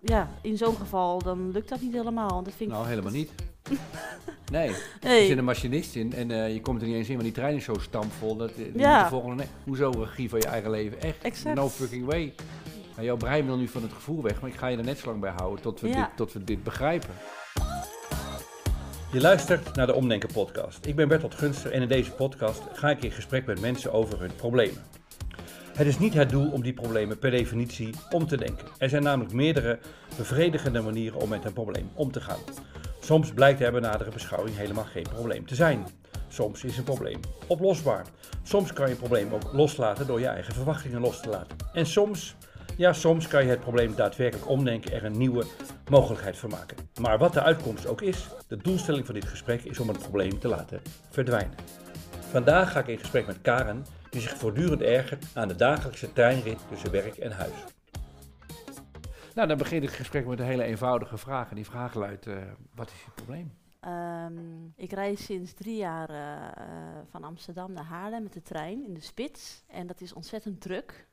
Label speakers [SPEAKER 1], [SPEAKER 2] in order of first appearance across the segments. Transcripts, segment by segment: [SPEAKER 1] ja, in zo'n geval dan lukt dat niet helemaal. Dat vind ik
[SPEAKER 2] Nou, helemaal niet. Nee, er
[SPEAKER 1] Nee.
[SPEAKER 2] zit een machinist in en eh, je komt er niet eens in, want die trein is zo stampvol. Dat, eh, die
[SPEAKER 1] Ja.
[SPEAKER 2] moet de volgende, nee, hoezo regie van je eigen leven? Echt,
[SPEAKER 1] Exact.
[SPEAKER 2] no fucking way. Nou, jouw brein wil nu van het gevoel weg, maar ik ga je er net zo lang bij houden tot we,
[SPEAKER 1] Ja.
[SPEAKER 2] dit, tot we dit begrijpen. Je luistert naar de Omdenken podcast. Ik ben Bertolt Gunster en in deze podcast ga ik in gesprek met mensen over hun problemen. Het is niet het doel om die problemen per definitie om te denken. Er zijn namelijk meerdere bevredigende manieren om met een probleem om te gaan. Soms blijkt er bij nadere beschouwing helemaal geen probleem te zijn. Soms is een probleem oplosbaar. Soms kan je een probleem ook loslaten door je eigen verwachtingen los te laten. En soms, ja, soms kan je het probleem daadwerkelijk omdenken en er een nieuwe mogelijkheid van maken. Maar wat de uitkomst ook is, de doelstelling van dit gesprek is om het probleem te laten verdwijnen. Vandaag ga ik in gesprek met Karen, die zich voortdurend ergert aan de dagelijkse treinrit tussen werk en huis. Nou, dan begint het gesprek met een hele eenvoudige vraag. En die vraag luidt, eh, wat is je probleem?
[SPEAKER 1] Ehm, ik reis sinds drie jaar eh, eh, van Amsterdam naar Haarlem met de trein in de spits. En dat is ontzettend druk.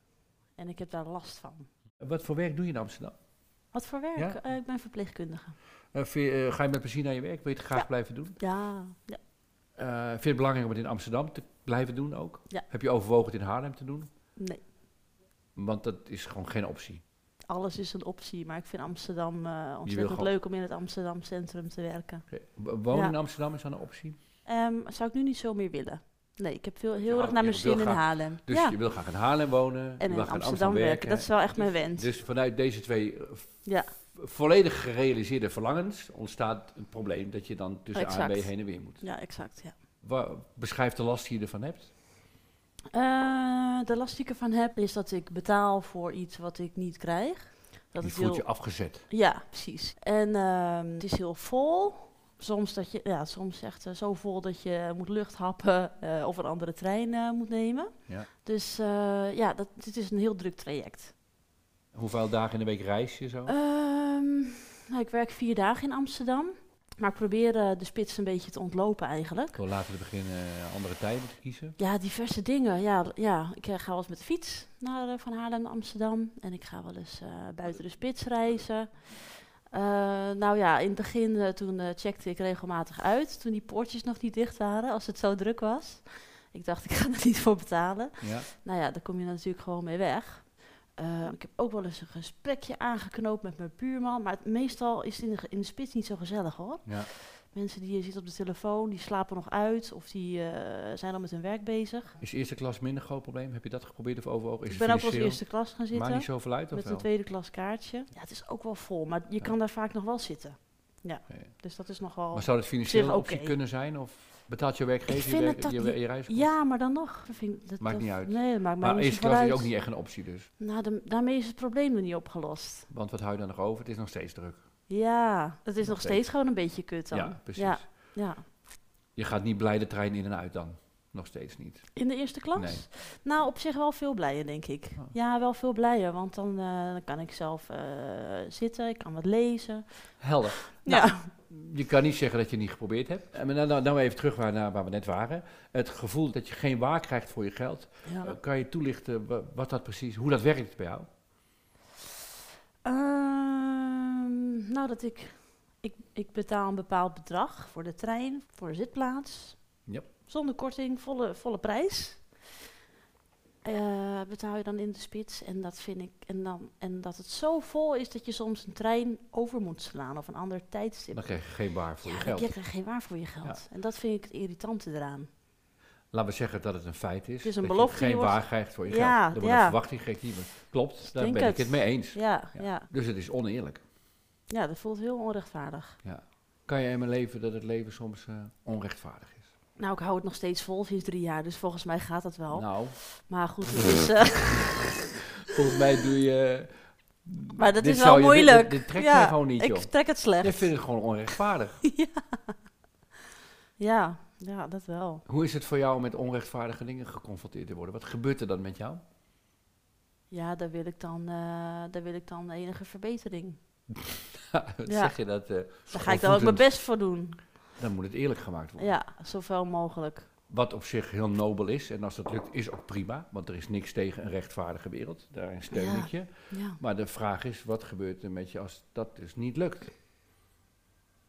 [SPEAKER 1] En ik heb daar last van.
[SPEAKER 2] Wat voor werk doe je in Amsterdam?
[SPEAKER 1] Wat voor werk?
[SPEAKER 2] Ja?
[SPEAKER 1] Eh, ik ben verpleegkundige.
[SPEAKER 2] Eh, vind je, eh, ga je met plezier naar je werk? Wil je het graag
[SPEAKER 1] Ja.
[SPEAKER 2] blijven doen?
[SPEAKER 1] Ja, ja.
[SPEAKER 2] Eh, vind je het belangrijk om het in Amsterdam te blijven doen ook?
[SPEAKER 1] Ja.
[SPEAKER 2] Heb je overwogen het in Haarlem te doen?
[SPEAKER 1] Nee,
[SPEAKER 2] Want dat is gewoon geen optie.
[SPEAKER 1] alles is een optie. Maar ik vind Amsterdam eh, ontzettend
[SPEAKER 2] gewoon-
[SPEAKER 1] leuk om in het Amsterdam centrum te werken.
[SPEAKER 2] Eh, w- Wonen
[SPEAKER 1] Ja.
[SPEAKER 2] in Amsterdam is dan een optie.
[SPEAKER 1] Ehm, zou ik nu niet zo meer willen. Nee, ik heb veel, heel
[SPEAKER 2] Ja,
[SPEAKER 1] erg naar
[SPEAKER 2] je
[SPEAKER 1] mijn zin
[SPEAKER 2] wil
[SPEAKER 1] in
[SPEAKER 2] graag-
[SPEAKER 1] Haarlem.
[SPEAKER 2] Dus
[SPEAKER 1] ja.
[SPEAKER 2] je wil graag in Haarlem wonen. je
[SPEAKER 1] En
[SPEAKER 2] wil
[SPEAKER 1] in
[SPEAKER 2] graag
[SPEAKER 1] Amsterdam, werken. Dat is wel echt mijn wens.
[SPEAKER 2] Dus vanuit deze twee eh, v-
[SPEAKER 1] Ja.
[SPEAKER 2] volledig gerealiseerde verlangens ontstaat een probleem dat je dan tussen A en B
[SPEAKER 1] Exact.
[SPEAKER 2] heen en weer moet.
[SPEAKER 1] ja, exact. Ja.
[SPEAKER 2] Wa- beschrijf de last die je ervan hebt.
[SPEAKER 1] Eh, de last die ik ervan heb is dat ik betaal voor iets wat ik niet krijg. Dat
[SPEAKER 2] je
[SPEAKER 1] is
[SPEAKER 2] voelt
[SPEAKER 1] heel,
[SPEAKER 2] je afgezet.
[SPEAKER 1] Ja, precies. En ehm, het is heel vol. Soms, dat je, ja, soms echt eh, zo vol dat je moet luchthappen eh, of een andere trein eh, moet nemen.
[SPEAKER 2] Ja.
[SPEAKER 1] Dus eh, ja, dat, dit is een heel druk traject.
[SPEAKER 2] Hoeveel dagen in de week reis je zo?
[SPEAKER 1] Ehm, nou, ik werk vier dagen in Amsterdam. Maar ik probeer eh, de spits een beetje te ontlopen eigenlijk.
[SPEAKER 2] Door later te beginnen eh, andere tijden te kiezen.
[SPEAKER 1] Ja, diverse dingen. Ja, l- ja. ik eh, ga wel eens met de fiets naar, eh, van Haarlem naar Amsterdam. En ik ga wel eens eh, buiten de spits reizen. Eh, nou ja, in het begin eh, toen eh, checkte ik regelmatig uit. Toen die poortjes nog niet dicht waren, als het zo druk was. Ik dacht, ik ga er niet voor betalen.
[SPEAKER 2] Ja.
[SPEAKER 1] Nou ja, daar kom je natuurlijk gewoon mee weg. Eh, ik heb ook wel eens een gesprekje aangeknoopt met mijn buurman. Maar het- meestal is het in de, ge- in de spits niet zo gezellig hoor.
[SPEAKER 2] Ja.
[SPEAKER 1] Mensen die je ziet op de telefoon, die slapen nog uit. Of die eh, zijn al met hun werk bezig.
[SPEAKER 2] Is eerste klas minder groot probleem? Heb je dat geprobeerd of overwogen? Is
[SPEAKER 1] Ik
[SPEAKER 2] het
[SPEAKER 1] ben ook als
[SPEAKER 2] financieel?
[SPEAKER 1] eerste klas gaan
[SPEAKER 2] Maakt
[SPEAKER 1] zitten.
[SPEAKER 2] niet zoveel uit of
[SPEAKER 1] Met
[SPEAKER 2] wel?
[SPEAKER 1] een tweede klas kaartje. Ja, het is ook wel vol, maar je
[SPEAKER 2] Ja.
[SPEAKER 1] kan daar vaak nog wel zitten. Ja,
[SPEAKER 2] Ja, ja.
[SPEAKER 1] dus dat is nogal...
[SPEAKER 2] Maar zou het financieel
[SPEAKER 1] Zeg,
[SPEAKER 2] een optie
[SPEAKER 1] oké.
[SPEAKER 2] kunnen zijn? Of betaalt je werkgever je,
[SPEAKER 1] vind
[SPEAKER 2] werk-
[SPEAKER 1] het dat
[SPEAKER 2] je,
[SPEAKER 1] die-
[SPEAKER 2] je reiskosten?
[SPEAKER 1] ja, maar dan nog. Dat vind ik- dat-
[SPEAKER 2] Maakt
[SPEAKER 1] dat-
[SPEAKER 2] niet uit.
[SPEAKER 1] Nee, dat maakt mij
[SPEAKER 2] Maar
[SPEAKER 1] niet
[SPEAKER 2] eerste
[SPEAKER 1] zoveel
[SPEAKER 2] klas
[SPEAKER 1] uit.
[SPEAKER 2] is ook niet echt een optie dus.
[SPEAKER 1] Nou, dan- daarmee is het probleem nog niet opgelost.
[SPEAKER 2] Want wat hou je dan nog over? Het is nog steeds druk.
[SPEAKER 1] Ja, dat is nog
[SPEAKER 2] Nog
[SPEAKER 1] steeds gewoon een beetje kut dan.
[SPEAKER 2] Ja, precies.
[SPEAKER 1] Ja, ja.
[SPEAKER 2] Je gaat niet blij de trein in en uit dan. Nog steeds niet.
[SPEAKER 1] In de eerste klas?
[SPEAKER 2] Nee.
[SPEAKER 1] Nou, op zich wel veel blijer, denk ik.
[SPEAKER 2] Ah.
[SPEAKER 1] Ja, wel veel blijer, want dan, eh, dan kan ik zelf eh, zitten, ik kan wat lezen.
[SPEAKER 2] Helder. Nou,
[SPEAKER 1] Ja,
[SPEAKER 2] Je kan niet zeggen dat je het niet geprobeerd hebt. Eh, Maar nou, nou, nou even terug waar, naar waar we net waren. Het gevoel dat je geen waar krijgt voor je geld.
[SPEAKER 1] ja.
[SPEAKER 2] Eh, kan je toelichten wa- wat dat precies, hoe dat werkt bij jou?
[SPEAKER 1] Ehm, nou, dat ik, ik. Ik betaal een bepaald bedrag voor de trein, voor de zitplaats.
[SPEAKER 2] Ja.
[SPEAKER 1] Zonder korting, volle, volle prijs. Eh, betaal je dan in de spits. En dat vind ik. En, dan, en dat het zo vol is dat je soms een trein over moet slaan of een ander tijdstip.
[SPEAKER 2] Dan krijg je geen waar voor je
[SPEAKER 1] ja,
[SPEAKER 2] geld.
[SPEAKER 1] je krijgt geen waar voor je geld. En dat vind ik het irritante eraan.
[SPEAKER 2] Laten we zeggen dat het een feit is.
[SPEAKER 1] Het is een
[SPEAKER 2] dat
[SPEAKER 1] belofte
[SPEAKER 2] je geen
[SPEAKER 1] die wordt-
[SPEAKER 2] waar krijgt voor je
[SPEAKER 1] Ja,
[SPEAKER 2] geld. Er wordt
[SPEAKER 1] ja.
[SPEAKER 2] een verwachting gegeven. Klopt, daar
[SPEAKER 1] denk
[SPEAKER 2] ben ik
[SPEAKER 1] het.
[SPEAKER 2] het mee eens.
[SPEAKER 1] Ja,
[SPEAKER 2] Ja.
[SPEAKER 1] ja. ja.
[SPEAKER 2] Dus het is oneerlijk.
[SPEAKER 1] dat voelt heel onrechtvaardig.
[SPEAKER 2] Ja. Kan je in mijn leven dat het leven soms eh, onrechtvaardig is?
[SPEAKER 1] Nou, ik hou het nog steeds vol sinds drie jaar, dus volgens mij gaat dat wel.
[SPEAKER 2] Nou,
[SPEAKER 1] Maar goed, het is. eh,
[SPEAKER 2] volgens mij doe je...
[SPEAKER 1] Maar dat
[SPEAKER 2] dit
[SPEAKER 1] is wel
[SPEAKER 2] zou je- dit-
[SPEAKER 1] moeilijk.
[SPEAKER 2] Dit, dit trekt
[SPEAKER 1] Ja,
[SPEAKER 2] je gewoon niet,
[SPEAKER 1] Ik
[SPEAKER 2] joh.
[SPEAKER 1] trek het slecht.
[SPEAKER 2] Jij vindt het gewoon onrechtvaardig.
[SPEAKER 1] Ja, ja, dat wel.
[SPEAKER 2] Hoe is het voor jou om met onrechtvaardige dingen geconfronteerd te worden? Wat gebeurt er dan met jou?
[SPEAKER 1] Ja, daar wil ik dan, eh, daar wil ik dan enige verbetering.
[SPEAKER 2] Wat
[SPEAKER 1] Ja.
[SPEAKER 2] zeg je dat? eh,
[SPEAKER 1] Daar ga ik dan ook mijn
[SPEAKER 2] schoolvoetend?
[SPEAKER 1] best voor doen.
[SPEAKER 2] Dan moet het eerlijk gemaakt worden.
[SPEAKER 1] Ja, zoveel mogelijk.
[SPEAKER 2] Wat op zich heel nobel is. En als dat lukt, is ook prima. Want er is niks tegen een rechtvaardige wereld. Daarin steun
[SPEAKER 1] Ja.
[SPEAKER 2] ik je.
[SPEAKER 1] Ja.
[SPEAKER 2] Maar de vraag is, wat gebeurt er met je als dat dus niet lukt?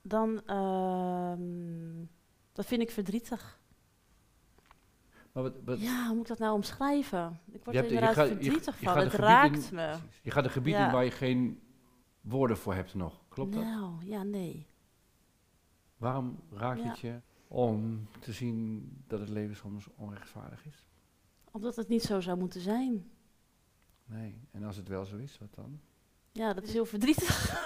[SPEAKER 1] Dan, ehm, dat vind ik verdrietig.
[SPEAKER 2] Maar wat, wat-
[SPEAKER 1] Ja, hoe moet ik dat nou omschrijven? Ik word
[SPEAKER 2] Je
[SPEAKER 1] er
[SPEAKER 2] hebt- je
[SPEAKER 1] inderdaad
[SPEAKER 2] gaat- je-
[SPEAKER 1] verdrietig
[SPEAKER 2] je
[SPEAKER 1] van.
[SPEAKER 2] gaat
[SPEAKER 1] Het
[SPEAKER 2] een gebied
[SPEAKER 1] raakt
[SPEAKER 2] in-
[SPEAKER 1] me.
[SPEAKER 2] je gaat een gebied
[SPEAKER 1] Ja.
[SPEAKER 2] in waar je geen woorden voor hebt nog. Klopt dat?
[SPEAKER 1] Nou, ja, nee.
[SPEAKER 2] Waarom raakt
[SPEAKER 1] Ja.
[SPEAKER 2] het je om te zien dat het leven soms onrechtvaardig is?
[SPEAKER 1] Omdat het niet zo zou moeten zijn.
[SPEAKER 2] Nee. En als het wel zo is, wat dan?
[SPEAKER 1] Ja, dat is heel verdrietig.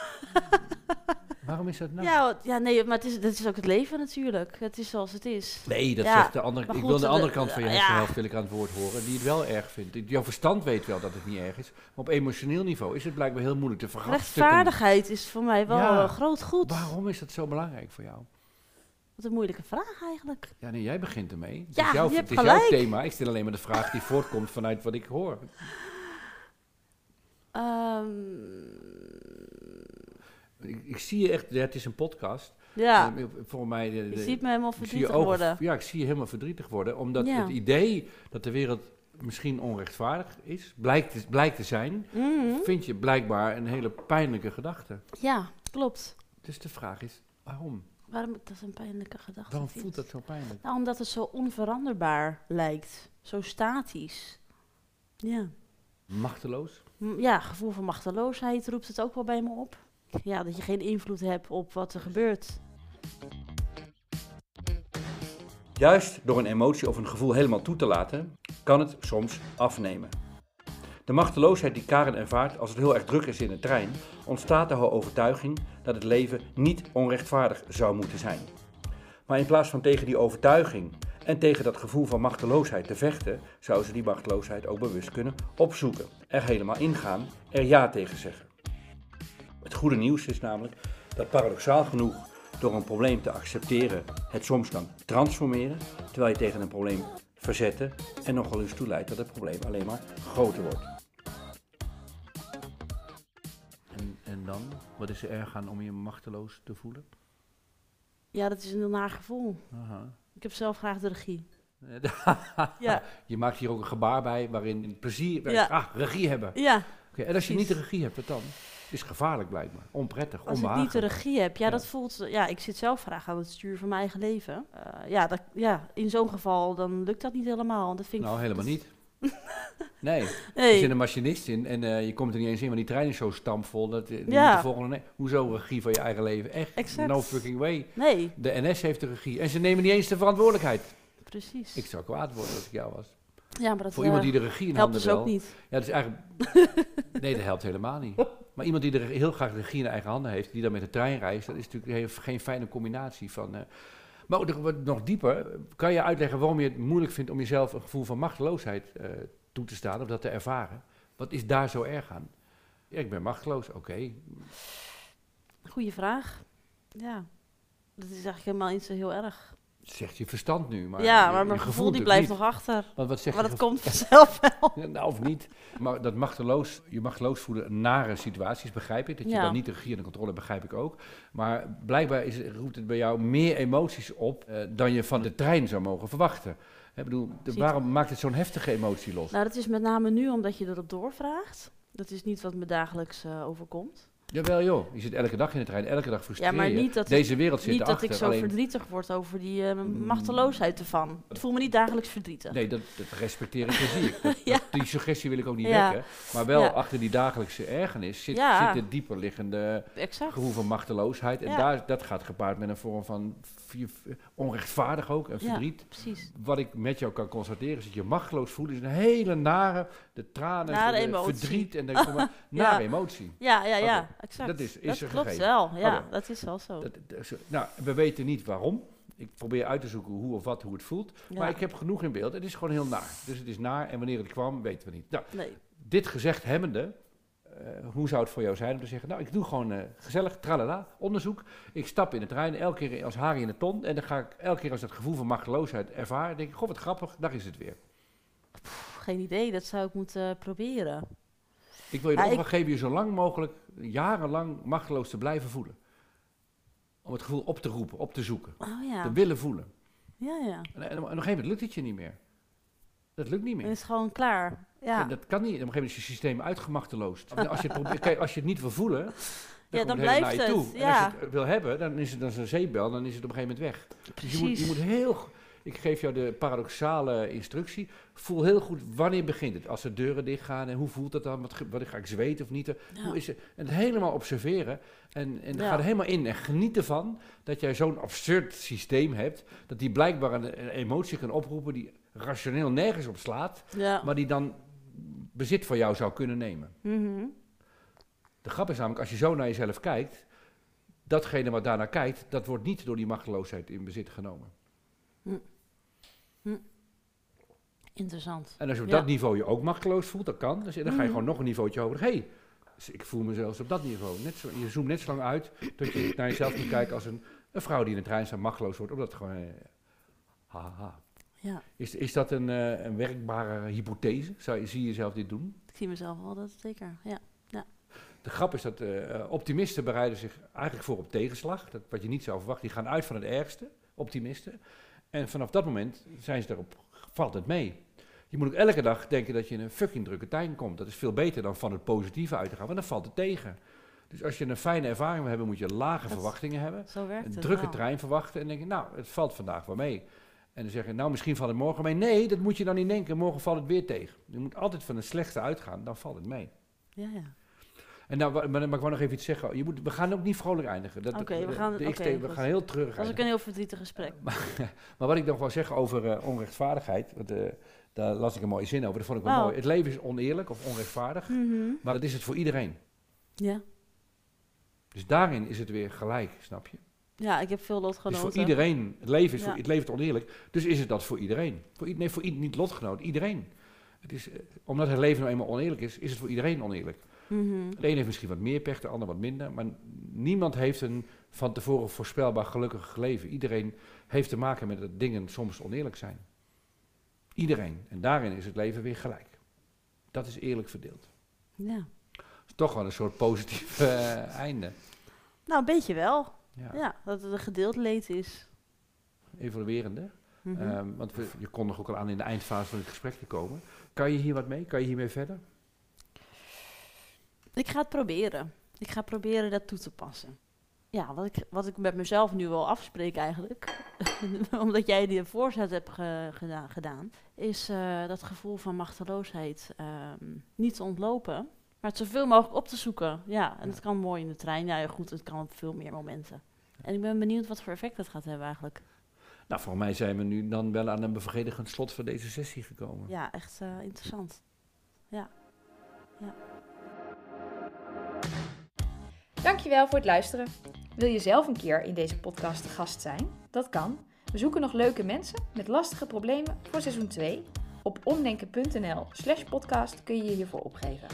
[SPEAKER 2] Waarom is dat nou?
[SPEAKER 1] Ja, want- ja, nee, maar het is, dat is ook het leven natuurlijk. Het is zoals het is.
[SPEAKER 2] Nee, dat
[SPEAKER 1] Ja,
[SPEAKER 2] zegt de andere.
[SPEAKER 1] maar
[SPEAKER 2] ik
[SPEAKER 1] goed,
[SPEAKER 2] wil de
[SPEAKER 1] de-
[SPEAKER 2] andere kant van je
[SPEAKER 1] ja.
[SPEAKER 2] hersenhelft wil ik aan het woord horen, die het wel erg vindt. Die- Jouw verstand weet wel dat het niet erg is, maar op emotioneel niveau is het blijkbaar heel moeilijk te vergasten.
[SPEAKER 1] Rechtvaardigheid is voor mij wel
[SPEAKER 2] Ja.
[SPEAKER 1] een groot goed.
[SPEAKER 2] Waarom is dat zo belangrijk voor jou?
[SPEAKER 1] Wat een moeilijke vraag eigenlijk.
[SPEAKER 2] Ja, nee, jij begint ermee. Het
[SPEAKER 1] Ja,
[SPEAKER 2] is jouw,
[SPEAKER 1] je hebt
[SPEAKER 2] het is jouw
[SPEAKER 1] gelijk.
[SPEAKER 2] thema. Ik stel alleen maar de vraag die voortkomt vanuit wat ik hoor.
[SPEAKER 1] Ehm,
[SPEAKER 2] Ik, ik zie je echt, ja, het is een podcast.
[SPEAKER 1] ja,
[SPEAKER 2] Eh, Volgens mij. De,
[SPEAKER 1] je
[SPEAKER 2] de-
[SPEAKER 1] ziet me helemaal
[SPEAKER 2] ik zie je
[SPEAKER 1] verdrietig
[SPEAKER 2] ogen-
[SPEAKER 1] worden.
[SPEAKER 2] Ja, ik zie je helemaal verdrietig worden. Omdat
[SPEAKER 1] Ja.
[SPEAKER 2] het idee dat de wereld misschien onrechtvaardig is, blijkt, te- blijkt te zijn,
[SPEAKER 1] Mhm.
[SPEAKER 2] vind je blijkbaar een hele pijnlijke gedachte.
[SPEAKER 1] Ja, klopt.
[SPEAKER 2] Dus de vraag is, waarom?
[SPEAKER 1] Waarom, dat is een pijnlijke gedachte.
[SPEAKER 2] Waarom
[SPEAKER 1] vind
[SPEAKER 2] voelt
[SPEAKER 1] ik.
[SPEAKER 2] dat zo pijnlijk?
[SPEAKER 1] Nou, omdat het zo onveranderbaar lijkt. Zo statisch. Ja.
[SPEAKER 2] Machteloos?
[SPEAKER 1] M- Ja, gevoel van machteloosheid roept het ook wel bij me op. Ja, dat je geen invloed hebt op wat er gebeurt.
[SPEAKER 2] Juist door een emotie of een gevoel helemaal toe te laten, kan het soms afnemen. De machteloosheid die Karen ervaart als het heel erg druk is in de trein, ontstaat door haar overtuiging dat het leven niet onrechtvaardig zou moeten zijn. Maar in plaats van tegen die overtuiging en tegen dat gevoel van machteloosheid te vechten, zou ze die machteloosheid ook bewust kunnen opzoeken, er helemaal ingaan, er ja tegen zeggen. Het goede nieuws is namelijk dat paradoxaal genoeg door een probleem te accepteren het soms kan transformeren, terwijl je tegen een probleem verzetten en nogal eens toe leidt dat het probleem alleen maar groter wordt. En, en dan? Wat is er erg aan om je machteloos te voelen?
[SPEAKER 1] Ja, dat is een heel naar gevoel.
[SPEAKER 2] Aha.
[SPEAKER 1] Ik heb zelf graag de regie. Ja,
[SPEAKER 2] je maakt hier ook een gebaar bij waarin plezier,
[SPEAKER 1] Ja.
[SPEAKER 2] ah, regie hebben.
[SPEAKER 1] ja.
[SPEAKER 2] Oké, En als je niet
[SPEAKER 1] Precies.
[SPEAKER 2] de regie hebt, wat dan? Is gevaarlijk blijkbaar, onprettig,
[SPEAKER 1] als ik niet de
[SPEAKER 2] onbehaaglijk.
[SPEAKER 1] regie heb. Ja,
[SPEAKER 2] Ja.
[SPEAKER 1] dat voelt... eh, Ja, ik zit zelf graag aan het stuur van mijn eigen leven. Eh, ja, dat, ja, in zo'n geval dan lukt dat niet helemaal. Dat vind ik...
[SPEAKER 2] Nou, helemaal niet. Nee. Er
[SPEAKER 1] Nee.
[SPEAKER 2] zit een machinist in en eh, je komt er niet eens in, want die trein is zo stampvol. Dat, eh, die
[SPEAKER 1] Ja.
[SPEAKER 2] moet de volgende, nee, hoezo regie van je eigen leven? Echt,
[SPEAKER 1] Exact.
[SPEAKER 2] no fucking way.
[SPEAKER 1] nee,
[SPEAKER 2] De NS heeft de regie en ze nemen niet eens de verantwoordelijkheid.
[SPEAKER 1] precies.
[SPEAKER 2] Ik zou kwaad worden als ik jou was.
[SPEAKER 1] ja, maar dat
[SPEAKER 2] Voor
[SPEAKER 1] eh,
[SPEAKER 2] iemand die de regie in
[SPEAKER 1] helpt
[SPEAKER 2] handen
[SPEAKER 1] dus
[SPEAKER 2] wil.
[SPEAKER 1] ook niet.
[SPEAKER 2] Ja, dat is eigenlijk... nee, dat helpt helemaal niet. Maar iemand die er heel graag de regie in eigen handen heeft, die dan met de trein reist, dat is natuurlijk heel- geen fijne combinatie van... eh, maar ook nog- wat nog dieper, kan je uitleggen waarom je het moeilijk vindt om jezelf een gevoel van machteloosheid eh, toe te staan of dat te ervaren? Wat is daar zo erg aan? Ja, ik ben machteloos, oké.
[SPEAKER 1] Goeie vraag. Ja. Dat is eigenlijk helemaal niet zo heel erg.
[SPEAKER 2] Zegt je verstand nu, maar
[SPEAKER 1] ja,
[SPEAKER 2] je-
[SPEAKER 1] maar
[SPEAKER 2] je
[SPEAKER 1] mijn gevoel die
[SPEAKER 2] natuurlijk
[SPEAKER 1] blijft
[SPEAKER 2] niet.
[SPEAKER 1] nog achter.
[SPEAKER 2] Want wat zegt
[SPEAKER 1] Maar
[SPEAKER 2] je
[SPEAKER 1] dat komt vanzelf wel.
[SPEAKER 2] Ja, Nou, of niet. Maar dat machteloos, je machteloos voelen nare situaties, begrijp ik. Dat je
[SPEAKER 1] Ja.
[SPEAKER 2] dan niet de regie en de controle hebt, begrijp ik ook. Maar blijkbaar is, roept het bij jou meer emoties op eh, dan je van de trein zou mogen verwachten. Ik bedoel, de-
[SPEAKER 1] Ziet-
[SPEAKER 2] waarom maakt het zo'n heftige emotie los?
[SPEAKER 1] Nou, dat is met name nu omdat je erop doorvraagt. Dat is niet wat me dagelijks eh, overkomt.
[SPEAKER 2] Jawel joh, je zit elke dag in de trein, elke dag frustreer
[SPEAKER 1] Ja, maar
[SPEAKER 2] je.
[SPEAKER 1] niet dat,
[SPEAKER 2] Deze wereld zit
[SPEAKER 1] niet dat
[SPEAKER 2] erachter.
[SPEAKER 1] ik zo
[SPEAKER 2] alleen- Mm.
[SPEAKER 1] verdrietig word over die eh, machteloosheid ervan. Ik voel me niet dagelijks verdrietig.
[SPEAKER 2] Nee, dat, dat respecteer ik en zie ik. Dat-
[SPEAKER 1] Ja.
[SPEAKER 2] dat- die suggestie wil ik ook niet
[SPEAKER 1] Ja.
[SPEAKER 2] wekken. Maar wel
[SPEAKER 1] Ja.
[SPEAKER 2] achter die dagelijkse ergernis zit,
[SPEAKER 1] Ja.
[SPEAKER 2] zit de dieperliggende
[SPEAKER 1] Exact.
[SPEAKER 2] gevoel van machteloosheid. En
[SPEAKER 1] Ja.
[SPEAKER 2] daar, dat gaat gepaard met een vorm van vi- onrechtvaardig ook en
[SPEAKER 1] Ja.
[SPEAKER 2] verdriet.
[SPEAKER 1] Precies.
[SPEAKER 2] Wat ik met jou kan constateren is dat je machteloos voelt. is een hele nare, de tranen,
[SPEAKER 1] Nare
[SPEAKER 2] de
[SPEAKER 1] emotie.
[SPEAKER 2] verdriet en dan kom maar, nare emotie.
[SPEAKER 1] Ja, ja, ja.
[SPEAKER 2] Oké.
[SPEAKER 1] Exact.
[SPEAKER 2] Dat is- is er
[SPEAKER 1] klopt
[SPEAKER 2] gegeven.
[SPEAKER 1] wel. Ja,
[SPEAKER 2] Oké.
[SPEAKER 1] dat is wel zo.
[SPEAKER 2] Dat, dat is- nou, we weten niet waarom. Ik probeer uit te zoeken hoe of wat, hoe het voelt.
[SPEAKER 1] Ja.
[SPEAKER 2] Maar ik heb genoeg in beeld. Het is gewoon heel naar. Dus het is naar en wanneer het kwam, weten we niet. Nou,
[SPEAKER 1] Nee.
[SPEAKER 2] dit gezegd hebbende, eh, hoe zou het voor jou zijn om te zeggen, nou, ik doe gewoon eh, gezellig, tralala, onderzoek. Ik stap in de trein, elke keer als Harry in de ton. En dan ga ik elke keer als dat gevoel van machteloosheid ervaar, denk ik, goh, wat grappig, daar is het weer.
[SPEAKER 1] Pff, geen idee. Dat zou ik moeten eh, proberen.
[SPEAKER 2] Ik wil je de
[SPEAKER 1] Ja, ik-
[SPEAKER 2] opdracht geven je zo lang mogelijk, jarenlang machteloos te blijven voelen. Om het gevoel op te roepen, op te zoeken,
[SPEAKER 1] Oh ja.
[SPEAKER 2] te willen voelen.
[SPEAKER 1] ja, ja.
[SPEAKER 2] En, en op een gegeven moment lukt het je niet meer. Dat lukt niet
[SPEAKER 1] Dan
[SPEAKER 2] meer.
[SPEAKER 1] is het gewoon klaar.
[SPEAKER 2] En
[SPEAKER 1] Ja,
[SPEAKER 2] dat kan niet. Op een gegeven moment is je systeem uitgemachteloosd. Als je het, probeert- kijk, als je het niet wil voelen, dan, komt
[SPEAKER 1] dan
[SPEAKER 2] het helemaal
[SPEAKER 1] blijft
[SPEAKER 2] naar je
[SPEAKER 1] het,
[SPEAKER 2] toe. En
[SPEAKER 1] ja.
[SPEAKER 2] als je het wil hebben, dan is het dan zo'n zeebel, dan is het op een gegeven moment weg. Dus je moet, je
[SPEAKER 1] precies.
[SPEAKER 2] moet heel. go- Ik geef jou de paradoxale instructie. Voel heel goed wanneer begint het. Als de deuren dichtgaan en hoe voelt dat dan? Wat, ge- wat ga ik zweten of niet?
[SPEAKER 1] Ja.
[SPEAKER 2] Hoe is het? En het helemaal observeren. En, en
[SPEAKER 1] Ja.
[SPEAKER 2] ga er helemaal in en geniet ervan dat jij zo'n absurd systeem hebt. Dat die blijkbaar een, een emotie kan oproepen die rationeel nergens op slaat.
[SPEAKER 1] Ja.
[SPEAKER 2] Maar die dan bezit van jou zou kunnen nemen.
[SPEAKER 1] Mhm.
[SPEAKER 2] De grap is namelijk, als je zo naar jezelf kijkt. Datgene wat daarnaar kijkt, dat wordt niet door die machteloosheid in bezit genomen.
[SPEAKER 1] Interessant.
[SPEAKER 2] En als je op
[SPEAKER 1] Ja.
[SPEAKER 2] dat niveau je ook machteloos voelt, dat kan. Dus dan ga je
[SPEAKER 1] Mhm.
[SPEAKER 2] gewoon nog een niveautje hoger. Hé, hey, dus ik voel me zelfs op dat niveau. Net zo, je zoomt net zo lang uit dat je naar jezelf moet kijken als een, een vrouw die in de trein staat machteloos wordt. Omdat het gewoon... eh, haha.
[SPEAKER 1] Ja,
[SPEAKER 2] Is, is dat een, eh, een werkbare hypothese? Zou, je- zie je jezelf dit doen?
[SPEAKER 1] ik zie mezelf wel dat zeker. Ja.
[SPEAKER 2] De grap is dat eh, eh, optimisten bereiden zich eigenlijk voor op tegenslag. Dat, wat je niet zou verwachten. Die gaan uit van het ergste, optimisten. En vanaf dat moment zijn ze daarop, valt het mee. Je moet ook elke dag denken dat je in een fucking drukke tuin komt. Dat is veel beter dan van het positieve uit te gaan, want dan valt het tegen. Dus als je een fijne ervaring wil hebben, moet je lage
[SPEAKER 1] Dat-
[SPEAKER 2] verwachtingen hebben.
[SPEAKER 1] Zo werkt
[SPEAKER 2] Een
[SPEAKER 1] het.
[SPEAKER 2] drukke
[SPEAKER 1] wel.
[SPEAKER 2] trein verwachten en denken, nou, het valt vandaag wel mee. En dan zeggen, nou, misschien valt het morgen mee. Nee, dat moet je dan niet denken. Morgen valt het weer tegen. Je moet altijd van het slechtste uitgaan, dan valt het mee.
[SPEAKER 1] Ja, ja.
[SPEAKER 2] En nou, wa- maar, maar ik wou nog even iets zeggen. Je moet, we gaan ook niet vrolijk eindigen. Dat,
[SPEAKER 1] Oké, we
[SPEAKER 2] de-
[SPEAKER 1] gaan-
[SPEAKER 2] de
[SPEAKER 1] oké, dus
[SPEAKER 2] XT we
[SPEAKER 1] goed.
[SPEAKER 2] gaan heel treurig
[SPEAKER 1] Dat was ook
[SPEAKER 2] eindigen.
[SPEAKER 1] een heel verdrietig gesprek.
[SPEAKER 2] Maar wat ik nog wil zeggen over eh, onrechtvaardigheid, want, eh, daar las ik een mooie zin over, dat vond ik wel
[SPEAKER 1] Oh.
[SPEAKER 2] mooi. Het leven is oneerlijk of onrechtvaardig,
[SPEAKER 1] Mhm.
[SPEAKER 2] maar dat is het voor iedereen.
[SPEAKER 1] Ja.
[SPEAKER 2] Dus daarin is het weer gelijk, snap je?
[SPEAKER 1] ja, ik heb veel
[SPEAKER 2] Dus
[SPEAKER 1] lotgenoten.
[SPEAKER 2] voor iedereen, het leven is,
[SPEAKER 1] Ja.
[SPEAKER 2] voor, het leven is oneerlijk, dus is het dat voor iedereen. Voor, i- nee, voor i- niet lotgenoot, iedereen. Het is, eh, omdat het leven nou eenmaal oneerlijk is, is het voor iedereen oneerlijk.
[SPEAKER 1] Mhm.
[SPEAKER 2] De een heeft misschien wat meer pech, de ander wat minder. Maar niemand heeft een van tevoren voorspelbaar gelukkig leven. Iedereen heeft te maken met dat dingen soms oneerlijk zijn. Iedereen. En daarin is het leven weer gelijk. Dat is eerlijk verdeeld.
[SPEAKER 1] Ja.
[SPEAKER 2] Het is toch wel een soort positief eh, einde.
[SPEAKER 1] Nou, een beetje wel.
[SPEAKER 2] Ja.
[SPEAKER 1] Ja, dat het een gedeeld leed is.
[SPEAKER 2] Evaluerende.
[SPEAKER 1] Mhm.
[SPEAKER 2] Ehm, want we, je kon nog ook al aan in de eindfase van het gesprek te komen. Kan je hier wat mee? Kan je hiermee verder?
[SPEAKER 1] Ik ga het proberen. Ik ga proberen dat toe te passen. Ja, wat ik, wat ik met mezelf nu wel afspreek eigenlijk, omdat jij die voorzet hebt ge- geda- gedaan, is eh, dat gevoel van machteloosheid ehm, niet te ontlopen, maar het zoveel mogelijk op te zoeken. Ja, en
[SPEAKER 2] Ja.
[SPEAKER 1] dat kan mooi in de trein. Nou Ja, ja, goed, het kan op veel meer momenten. En ik ben benieuwd wat voor effect dat gaat hebben eigenlijk.
[SPEAKER 2] Nou, voor mij zijn we nu dan wel aan een bevredigend slot van deze sessie gekomen.
[SPEAKER 1] Ja, echt eh, interessant.
[SPEAKER 3] Dankjewel voor het luisteren. Wil je zelf een keer in deze podcast te gast zijn? Dat kan. We zoeken nog leuke mensen met lastige problemen voor seizoen 2. Op omdenken.nl slash podcast kun je je hiervoor opgeven.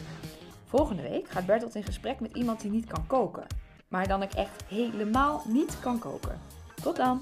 [SPEAKER 3] Volgende week gaat Bertolt in gesprek met iemand die niet kan koken. Maar dan ook echt helemaal niet kan koken. Tot dan!